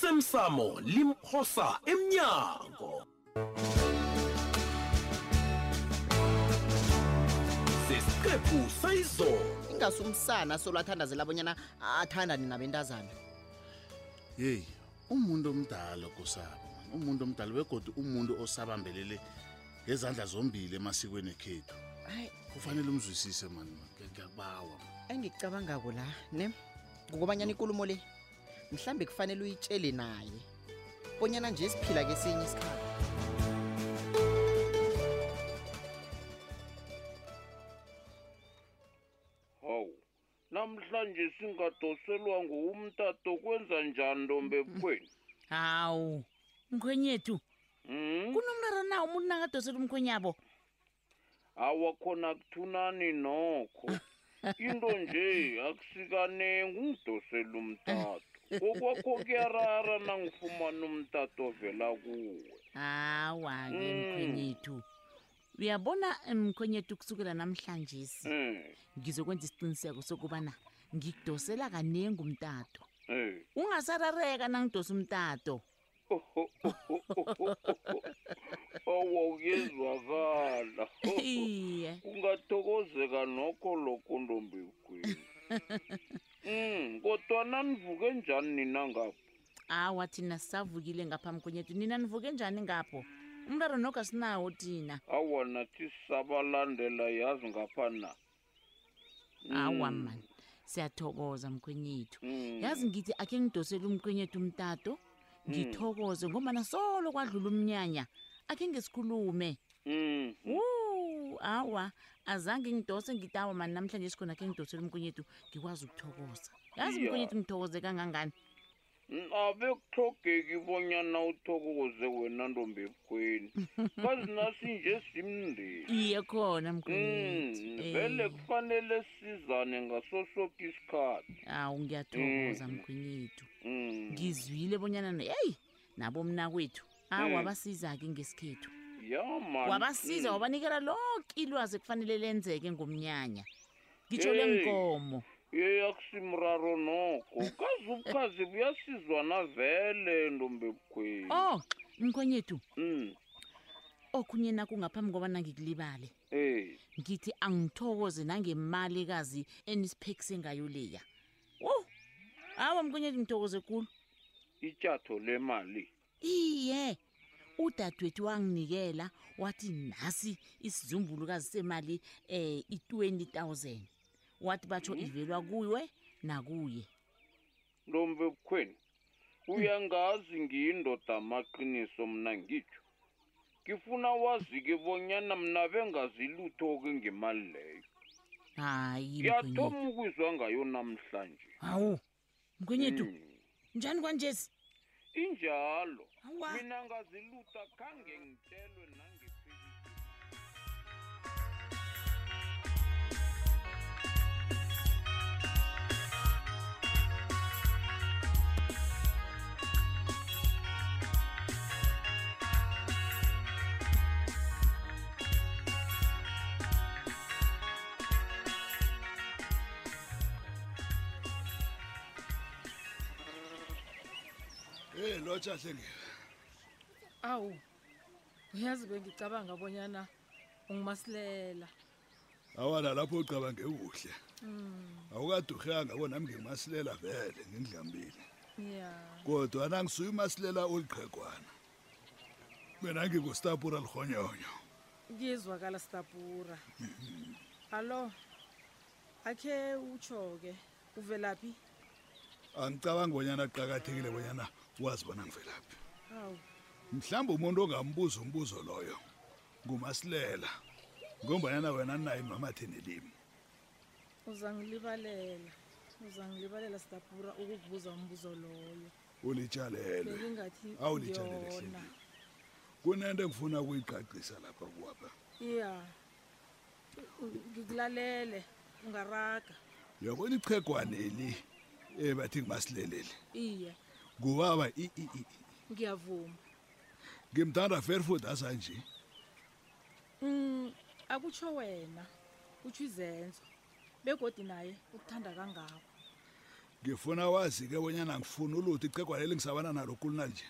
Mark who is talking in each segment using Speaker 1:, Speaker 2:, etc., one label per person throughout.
Speaker 1: osemsamo limphosa emnyango sesiqephu sayizolo
Speaker 2: ingasi umsana solo athandazela abonyana athandane nabentazana
Speaker 3: yeyi umuntu omdala kusabo umuntu omdala begodi umuntu osabambelele ngezandla zombili emasikweni ekhethu
Speaker 2: hayi
Speaker 3: kufanele umzwisise mani man. Ngiya- ngiyakubawa man.
Speaker 2: engikucabangako la ne ngokobanyana ikulumo le mhlambe kufanele uyitshele naye bonyana nje siphila kesinye isikhathi
Speaker 4: hawu namhlanje singadoselwa ngowumtato kwenza njani ntombe ebukhweni
Speaker 5: hawu mkhwenyethu
Speaker 4: mm?
Speaker 5: kunomraro na umuntu nakadosela umkhwenyabo
Speaker 4: awakhona kuthunani nokho into nje akusikanenge ungidosele umtato okwakho kuyarara nangifumana umtato ovela kuwe
Speaker 5: hawa-ke
Speaker 4: Mm.
Speaker 5: mkhwenyethu uyabona eh, mkhwenyethu kusukela namhlanje
Speaker 4: um
Speaker 5: ngizokwenza isiqiniseko sokubana ngikudosela kaningi umtato
Speaker 4: um
Speaker 5: ungasarareka nangidosa umtato
Speaker 4: owa kuyezwakala
Speaker 5: iye
Speaker 4: ungathokozeka nokho lokho ntombi ebukhweni um kodwana nivuke njani nina ngapho
Speaker 5: awa thina sisavukile ngapha mkhwenyethu nina nivuke njani ngapho umraro nokho asinawo thina
Speaker 4: awa nathi sisabalandela yazi ngapha na
Speaker 5: awa mani siyathokoza mkhwenyethu
Speaker 4: Mm.
Speaker 5: yazi ngithi akhe ngidosele umkhwenyethu umtato ngithokoze ngombana solo kwadlula umnyanya akhe ngesikhulume
Speaker 4: Mm.
Speaker 5: wu awa azange ngidose ngithi awa mani namhlanje sikhona akhe ngidosele umkhwenyethu ngikwazi ukuthokoza yazi
Speaker 4: Iya.
Speaker 5: umkhwenyethu ngithokoze kangangani
Speaker 4: Mm, abe kuhlogeki bonyana uthokoze wena ntombi ebukhweni kazi nasi nje simndeni
Speaker 5: iye khona
Speaker 4: Mm,
Speaker 5: mkhwenyethu
Speaker 4: vele
Speaker 5: Eh,
Speaker 4: kufanele sizane ngaso soke isikhathi
Speaker 5: awu ngiyathokoza
Speaker 4: Mm.
Speaker 5: mkhwenyethu
Speaker 4: Mm,
Speaker 5: ngizwile bonyana heyi nabo mna kwethu
Speaker 4: Mm.
Speaker 5: awabasiza-ke ngesikhethu
Speaker 4: ya man.
Speaker 5: wabasiza
Speaker 4: Mm.
Speaker 5: wabanikela lonke ilwazi ekufanele lenzeke ngomnyanya ngitsho
Speaker 4: Hey.
Speaker 5: lenkomo
Speaker 4: Mm, yeyakusimraro nokho kazi ubukhazi buyasizwana vele ntombi ebukhweni
Speaker 5: o mkhonyethu
Speaker 4: Mm,
Speaker 5: Oh, okhunye nakungaphambi kobana ngikulibale
Speaker 4: eh
Speaker 5: ngithi angithokoze nangemalikazi enisiphekise ngayo leya wo awa mkhonyethu ngithokoze kulu
Speaker 4: itshatho le mali
Speaker 5: iye udadewethu wanginikela wathi nasi isizumbulukazi semali eh i20 000 wathi batsho ivelwa kuwe nakuye
Speaker 4: ntombi ebukhweni uyangazi ngiyindoda amaqiniso mna ngitsho ngifuna wazi-ke bonyana mna bengazilutho-ke ngemali leyo
Speaker 5: hayi
Speaker 4: ngiyathoma
Speaker 5: mkhwenyethu
Speaker 4: ukuzwa ngayo namhlanje
Speaker 5: hawu mkhwenyethu
Speaker 4: Mm,
Speaker 5: njani kwanjesi
Speaker 4: injalo
Speaker 5: Awa.
Speaker 4: mina ngazilutha khange ngitshelwe nangepheli
Speaker 6: Eh lotsha hle nge.
Speaker 7: awu uyazi bengicabanga abonyana ungimasilela
Speaker 6: Awala lapho ucaba ngekuhle. Awukadurhanga kona nami ngimasilela vele ngindlambile.
Speaker 7: ya
Speaker 6: Kodwa nangisuya umasilela oliqhegwana. Mina ngikustapura lihonyonyo.
Speaker 7: kuyezwakala stabura allo akhe utsho-ke uvelaphi
Speaker 6: Angicabanga bonyana aqhakathekile bonyana wazi bona ngivelaphi.
Speaker 7: awu
Speaker 6: Mhlawumbe umuntu ongambuza umbuzo loyo ngumasilela. Ngombanyana wena naye mamathe nelimi.
Speaker 7: uzangilibalela uzangilibalela stabura ukukubuza umbuzo loyo
Speaker 6: Ulitshalelwe.
Speaker 7: belingathi
Speaker 6: Awulitshalele
Speaker 7: ngiyona.
Speaker 6: hle. Kunento engifuna ukuyiqaqisa lapha kuwapha.
Speaker 7: ya U- u- ngikulalele ungaraga
Speaker 6: uyabona ichegwaneli um bathi ngibasileleli
Speaker 7: iye
Speaker 6: ngubaba i- i- i-
Speaker 7: ngiyavuma
Speaker 6: ngimthanda fairfood asanje
Speaker 7: Mm, akutsho wena utsho izenzo begodi naye ukuthanda kangako
Speaker 6: ngifuna wazi-ke bonyana ngifuna uluthi ichegwaneli ngisabana nalo kulina nje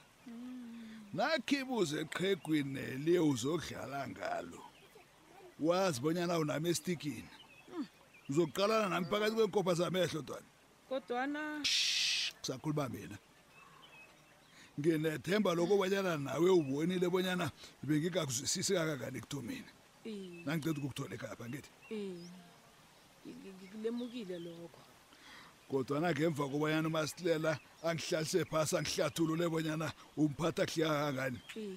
Speaker 6: nakhibuze eqhegwineli uzokudlala ngalo wazi bonyana unami esitikini uzokuqalana nami phakathi kwenkopha zamehlo dwana
Speaker 7: kodwana
Speaker 6: kusakhuluma mina nginethemba lokubonyana nawe ubonile bonyana bengingakuzwisisi kakangani ekuthomeni
Speaker 7: Eh,
Speaker 6: nangiceda ukukuthola ekhaya phangithi
Speaker 7: eh, ngi- ngi- ngilemukile lokho
Speaker 6: kodwana ngemva kobanyana umasilela angihlalise phasi angihlathulule bonyana umphatha kuhliya kakangani
Speaker 7: Eh,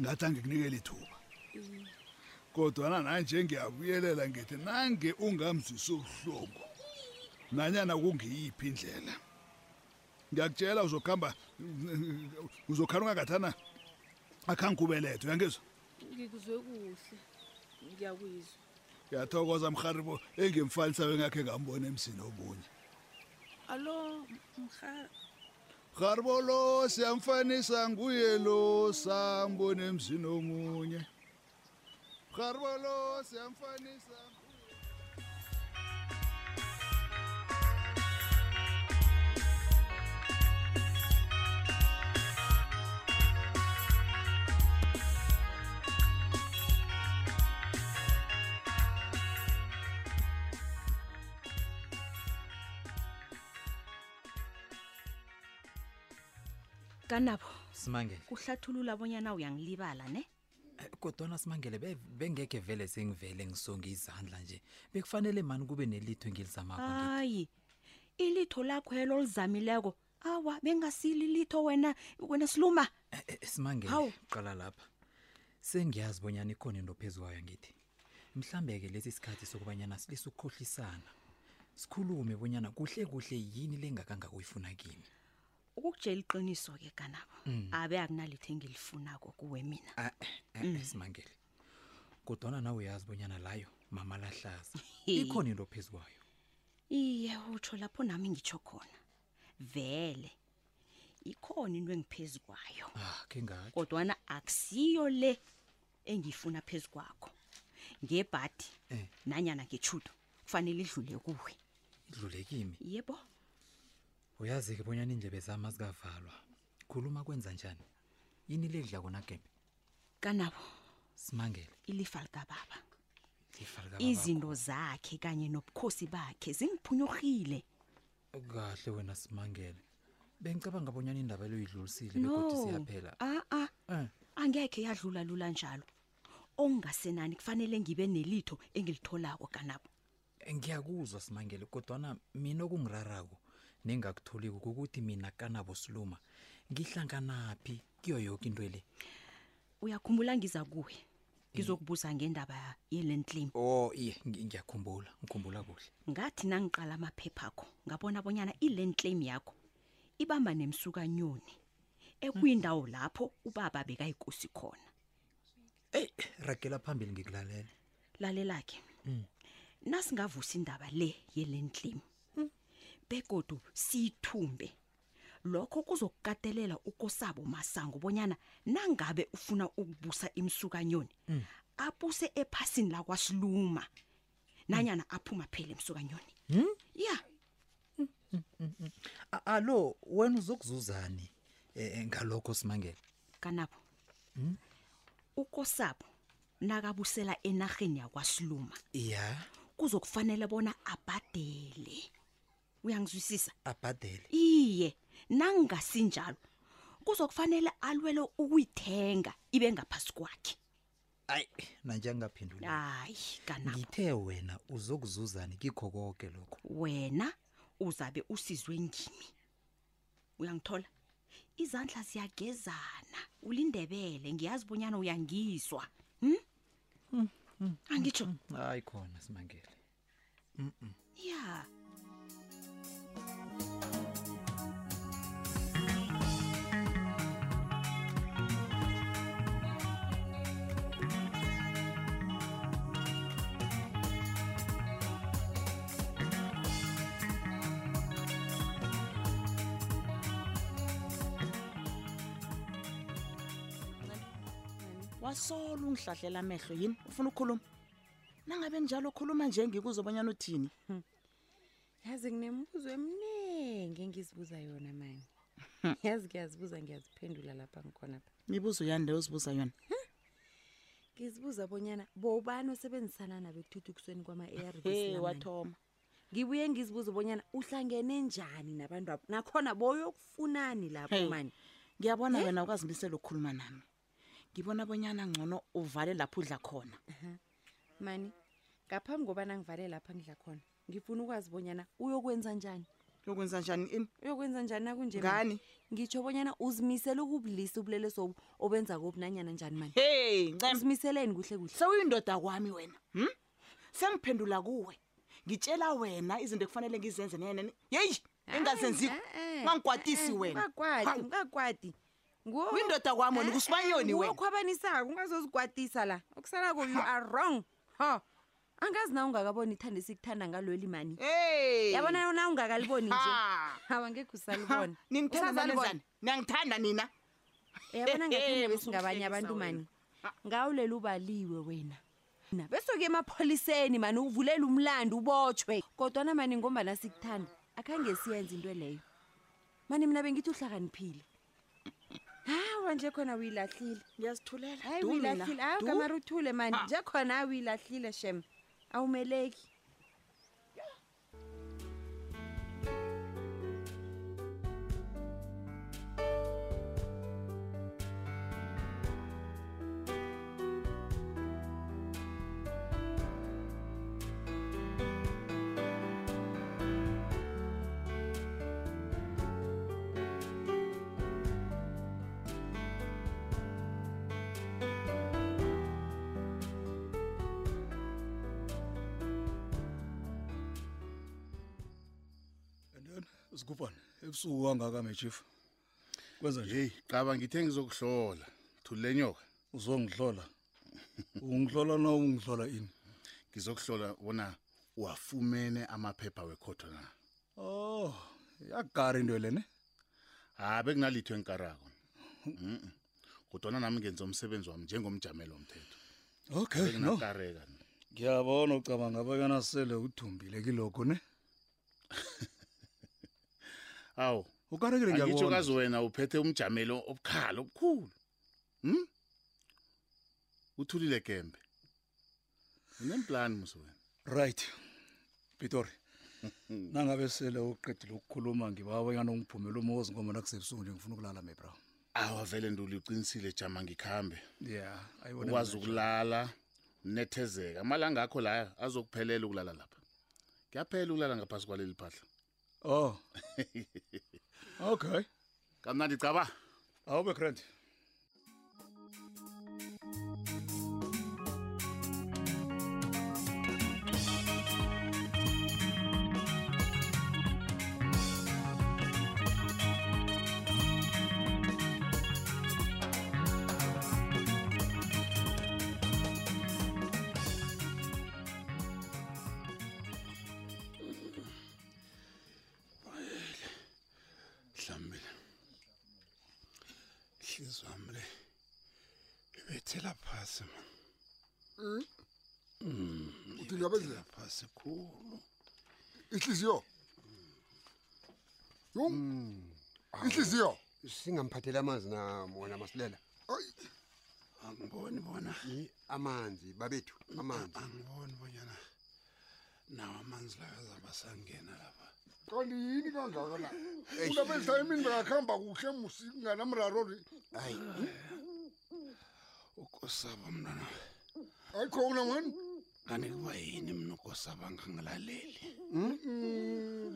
Speaker 6: ngathi angikunikela ithuba
Speaker 7: eh,
Speaker 6: kodwana nanje ngiyabuyelela ngithi nange ungamzwisi ubuhlungu nanyana kungiyiphi indlela ngiyakutshela uzokuhamba uzokhana ungakathana akhange kubeletho uyangizwa
Speaker 7: ngikuzwe kuhle ngiyakuyizwa
Speaker 6: ngiyathokoza mharibo engimfanisayo engakhe ngambona emsini omunye
Speaker 7: alo mha
Speaker 6: mharibo lo siyamfanisa nguye lo sambona emsini omunye mharibo lo siyamfanisa
Speaker 8: kanabo
Speaker 9: simangele
Speaker 8: kuhlathulula bonyana uyangilibala ne
Speaker 9: Eh, kodwana simangele be- bengekhe vele sengivele ngisonge izandla nje bekufanele mani kube
Speaker 8: Ah.
Speaker 9: nelitho engilizamako ngithi.
Speaker 8: hayi ilitho lakho elo lizamileko awa bengasili litho wena wena siluma
Speaker 9: Eh, eh, simangele
Speaker 8: Hawu.
Speaker 9: qala lapha sengiyazi bonyana ikhona into phezu kwayo ngithi mhlambe-ke lesi sikhathi sokubanyana silise ukukhohlisana sikhulume bonyana kuhle kuhle yini lengakanga kuyifuna kimi
Speaker 8: ukukutshela iqiniso-ke kanabo
Speaker 9: Mm.
Speaker 8: abe akunalitho engilifunako kuwe mina
Speaker 9: Ah, eh, eh, eh, simangele kodwana nawe uyazi bonyana layo mama lahlaza
Speaker 8: Hey.
Speaker 9: ikhona into phezu kwayo
Speaker 8: iye utsho lapho nami ngitsho khona vele ikhona into engiphezu kwayo
Speaker 9: ah khe ngatsho
Speaker 8: kodwana akusiyo le engiyifuna phezu kwakho ngebhadi
Speaker 9: Eh.
Speaker 8: nanyana ngechudo kufanele idlule kuwe
Speaker 9: idlule kimi
Speaker 8: yebo
Speaker 9: uyazi-ke bonyana indlebe zami azikavalwa khuluma kwenza njani yini le kudla konagembe
Speaker 8: kanabo
Speaker 9: simangele
Speaker 8: ilifa likababa
Speaker 9: lifa likababa
Speaker 8: izinto zakhe kanye nobukhosi bakhe zingiphunyurhile
Speaker 9: kho- kahle wena simangele bengicabanga bonyana indaba eloyidlulisile
Speaker 8: no
Speaker 9: bekodwa siyaphela
Speaker 8: a-a
Speaker 9: Eh,
Speaker 8: angekhe yadlula lula njalo okungasenani kufanele ngibe nelitho engilitholako kanabo
Speaker 9: ngiyakuzwa simangele kodwana mina okungirarako nengakutholiko kukuthi mina kanabo siluma ngihlanganaphi kuyo yoke into le
Speaker 8: uyakhumbula ngiza kuwe ngizokubuza ngendaba yelen claim
Speaker 9: o oh, iye ngi- ngiyakhumbula ngikhumbula kuhle
Speaker 8: ngathi nangiqala amaphepha akho ngabona bonyana ilen claim yakho ibamba nemsukanyoni ekuyindawo lapho ubaba bekayikosi khona
Speaker 9: eyi ragela phambili ngikulalela
Speaker 8: lalelake nasingavusa indaba le yelendlimi begodu siyithumbe lokho kuzokukatelela ukosabo masango bonyana nangabe ufuna ukubusa imsukanyoni abuse ephasini lakwasiluma nanyana aphuma phele imsukanyoni ya
Speaker 9: A- alo wena uzokuzuzani um ngalokho simangele
Speaker 8: kanabo ukosabo nakabusela enarheni yakwasiluma
Speaker 9: iya
Speaker 8: kuzokufanele bona abhadele uyangizwisisa
Speaker 9: abhadele
Speaker 8: iye nangasinjalo kuzokufanele alwele ukuyithenga ibe ngaphasi kwakhe
Speaker 9: ayi nanjengaphendula
Speaker 8: hayi kanabo
Speaker 9: ngithe wena uzokuzuzani kikho konke lokho
Speaker 8: wena uzabe usizwe ngimi uyangithola izandla ziyagezana ulindebele ngiyazi bonyana uyangizwa hm? angitsho
Speaker 9: hayi khona simangele
Speaker 8: ya
Speaker 5: wasola ungihlahlela amehlo yini ufuna ukukhuluma nangabe njalo khuluma njengikuzobanyana uthini
Speaker 10: yazi nginemibuzo eminingi ngengizibuza yona mani yazi ngiyazibuza ngiyaziphendula lapha ngikhona pha
Speaker 11: mibuzo yani leyo zibuza yona
Speaker 10: ngizibuza bonyana bobani osebenzisana nabo ekuthuthukisweni kwama-arv
Speaker 11: He, wathoma.
Speaker 10: ngibuye ngizibuza bonyana uhlangene njani nabantu abo nakhona boyokufunani lapho
Speaker 11: Hey,
Speaker 10: mani
Speaker 11: ngiyabona
Speaker 10: Eh?
Speaker 11: wena ukazimisela ukukhuluma nami ngibona bonyana ngcono uvale lapho udla khona
Speaker 10: mani ngaphambi kobana ngivale lapha ngidla khona ngifuna ukwazi bonyana uyokwenza njani
Speaker 11: yokwenza njani ini
Speaker 10: uyokwenza njani nakunje
Speaker 11: Ngani?
Speaker 10: ngitsho bonyana uzimisele ukubulisa ubulelesi obu obenza kobu nanyana njani mani
Speaker 11: hey
Speaker 10: uzimiseleni kuhle kuhle
Speaker 11: sewuyindoda kwami wena hm sengiphendula kuwe ngitshela wena izinto ekufanele ngizenze nenene yeyi
Speaker 8: Ah.
Speaker 11: engazenziko
Speaker 10: eh,
Speaker 11: ungangikwatisi wena
Speaker 10: ungakwati ungakwati
Speaker 11: Uyindoda kwami wena, kusibanyoni wena.
Speaker 10: ukhwabanisako ungazozikwatisa Eh, la okusalako you are wrong ho angazi na ungakaboni ithanda esikuthanda ngalweli mani
Speaker 11: hey
Speaker 10: yabona na ungakaliboni nje
Speaker 11: Ha.
Speaker 10: awangekhe usalibona
Speaker 11: ningithanda
Speaker 10: Usasalibona?
Speaker 11: nanizani niyangithanda nina
Speaker 10: yabona
Speaker 11: Hey,
Speaker 10: ngathanda
Speaker 11: usungihlekisa
Speaker 10: besingabanye abantu mani
Speaker 11: wena.
Speaker 10: ngawulela ubaliwe wena na besoke emapholiseni mani uvulela umlando ubotshwe kodwana mani ngombana sikuthanda akhange siyenze into leyo mani mina bengithi uhlakaniphile hawa nje khona uyilahlile
Speaker 11: ngiyazithulela
Speaker 10: hayi uyilahlile hawu kamari uthule mani nje khona hayi uyilahlile shem awumeleki
Speaker 12: Sigubhana, ebusuku kangaka my chief. Kwenza nje.
Speaker 3: hey qaba ngithe ngizokuhlola thulule nyoka
Speaker 12: Uzongihlola. Ungihlola na ungihlola ini?
Speaker 3: ngizokuhlola bona wafumene amaphepha wekhotho na
Speaker 12: Oh, yagari into lene.
Speaker 3: ha bekunalitho enkarako Mhm. kodwana nami ngenza umsebenzi wami njengomjamelo womthetho
Speaker 6: Eh,
Speaker 12: Okay, no.
Speaker 3: benginakareka no.
Speaker 12: Ngiyabona ucabanga bayana sele uthumbile kiloko ne.
Speaker 3: awu
Speaker 12: Ukarekile
Speaker 3: angitsho
Speaker 12: ngiyabona.
Speaker 3: kazi wena uphethe umjamelo obukhali obukhulu hm uthulile gembe unemplani musi wena
Speaker 12: Right. Pitori. Nangabe sele uqedile ukukhuluma ngibawa bayana ungiphumela umozi ngoba nakusebusuku nje ngifuna ukulala my bro.
Speaker 3: awa vele nduli uqinisile jama ngikhambe
Speaker 12: Yeah, ayibona.
Speaker 3: ukwazi ukulala unethezeka amalanga akho layo azokuphelela ukulala lapha kuyaphela ukulala ngaphasi kwaleli phahla
Speaker 12: Oh. Okay.
Speaker 3: kamnandi caba
Speaker 12: Awube grand.
Speaker 13: mhlambile hliziyo wami le ibethela phasi man
Speaker 6: uthi ngiyabezela
Speaker 13: phasi khulu
Speaker 6: ihliziyo yo Mm. ihliziyo
Speaker 13: singamphatheli amanzi nam wena masilela angiboni bona
Speaker 6: amanzi babethu amanzi
Speaker 13: angiboni bonyana nawo amanzi layo azaba sangena lapha
Speaker 6: kanti yini kangaka la unabezisa emini bekakuhamba kuhle musi kunganamraro le
Speaker 13: hayi ukosaba mntwana
Speaker 6: hayi khona mani
Speaker 13: kanti kuba yini mna ukosaba ngangilaleli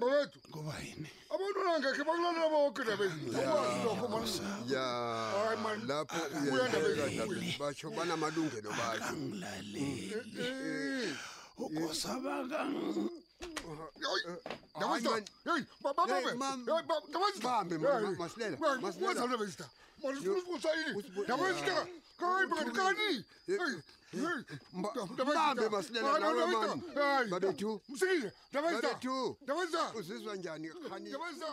Speaker 6: babethu
Speaker 13: kuba yini
Speaker 6: abantwana ngekhe bakulalela boke dabeziokho Hayi,
Speaker 13: ya
Speaker 6: man.
Speaker 13: lapho
Speaker 6: batsho banamalungelo batsho
Speaker 13: Eh, Mbambe masilela nawe mani. Babethu.
Speaker 6: msikile
Speaker 13: Babethu.
Speaker 6: dabeza
Speaker 13: uzizwa njani khani
Speaker 6: dabeza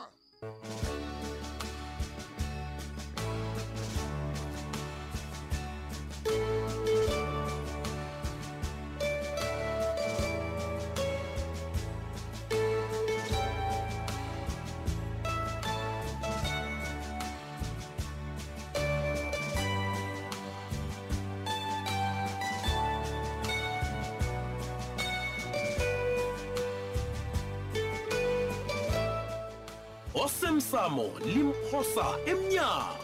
Speaker 1: osemsamo limphosa emnyango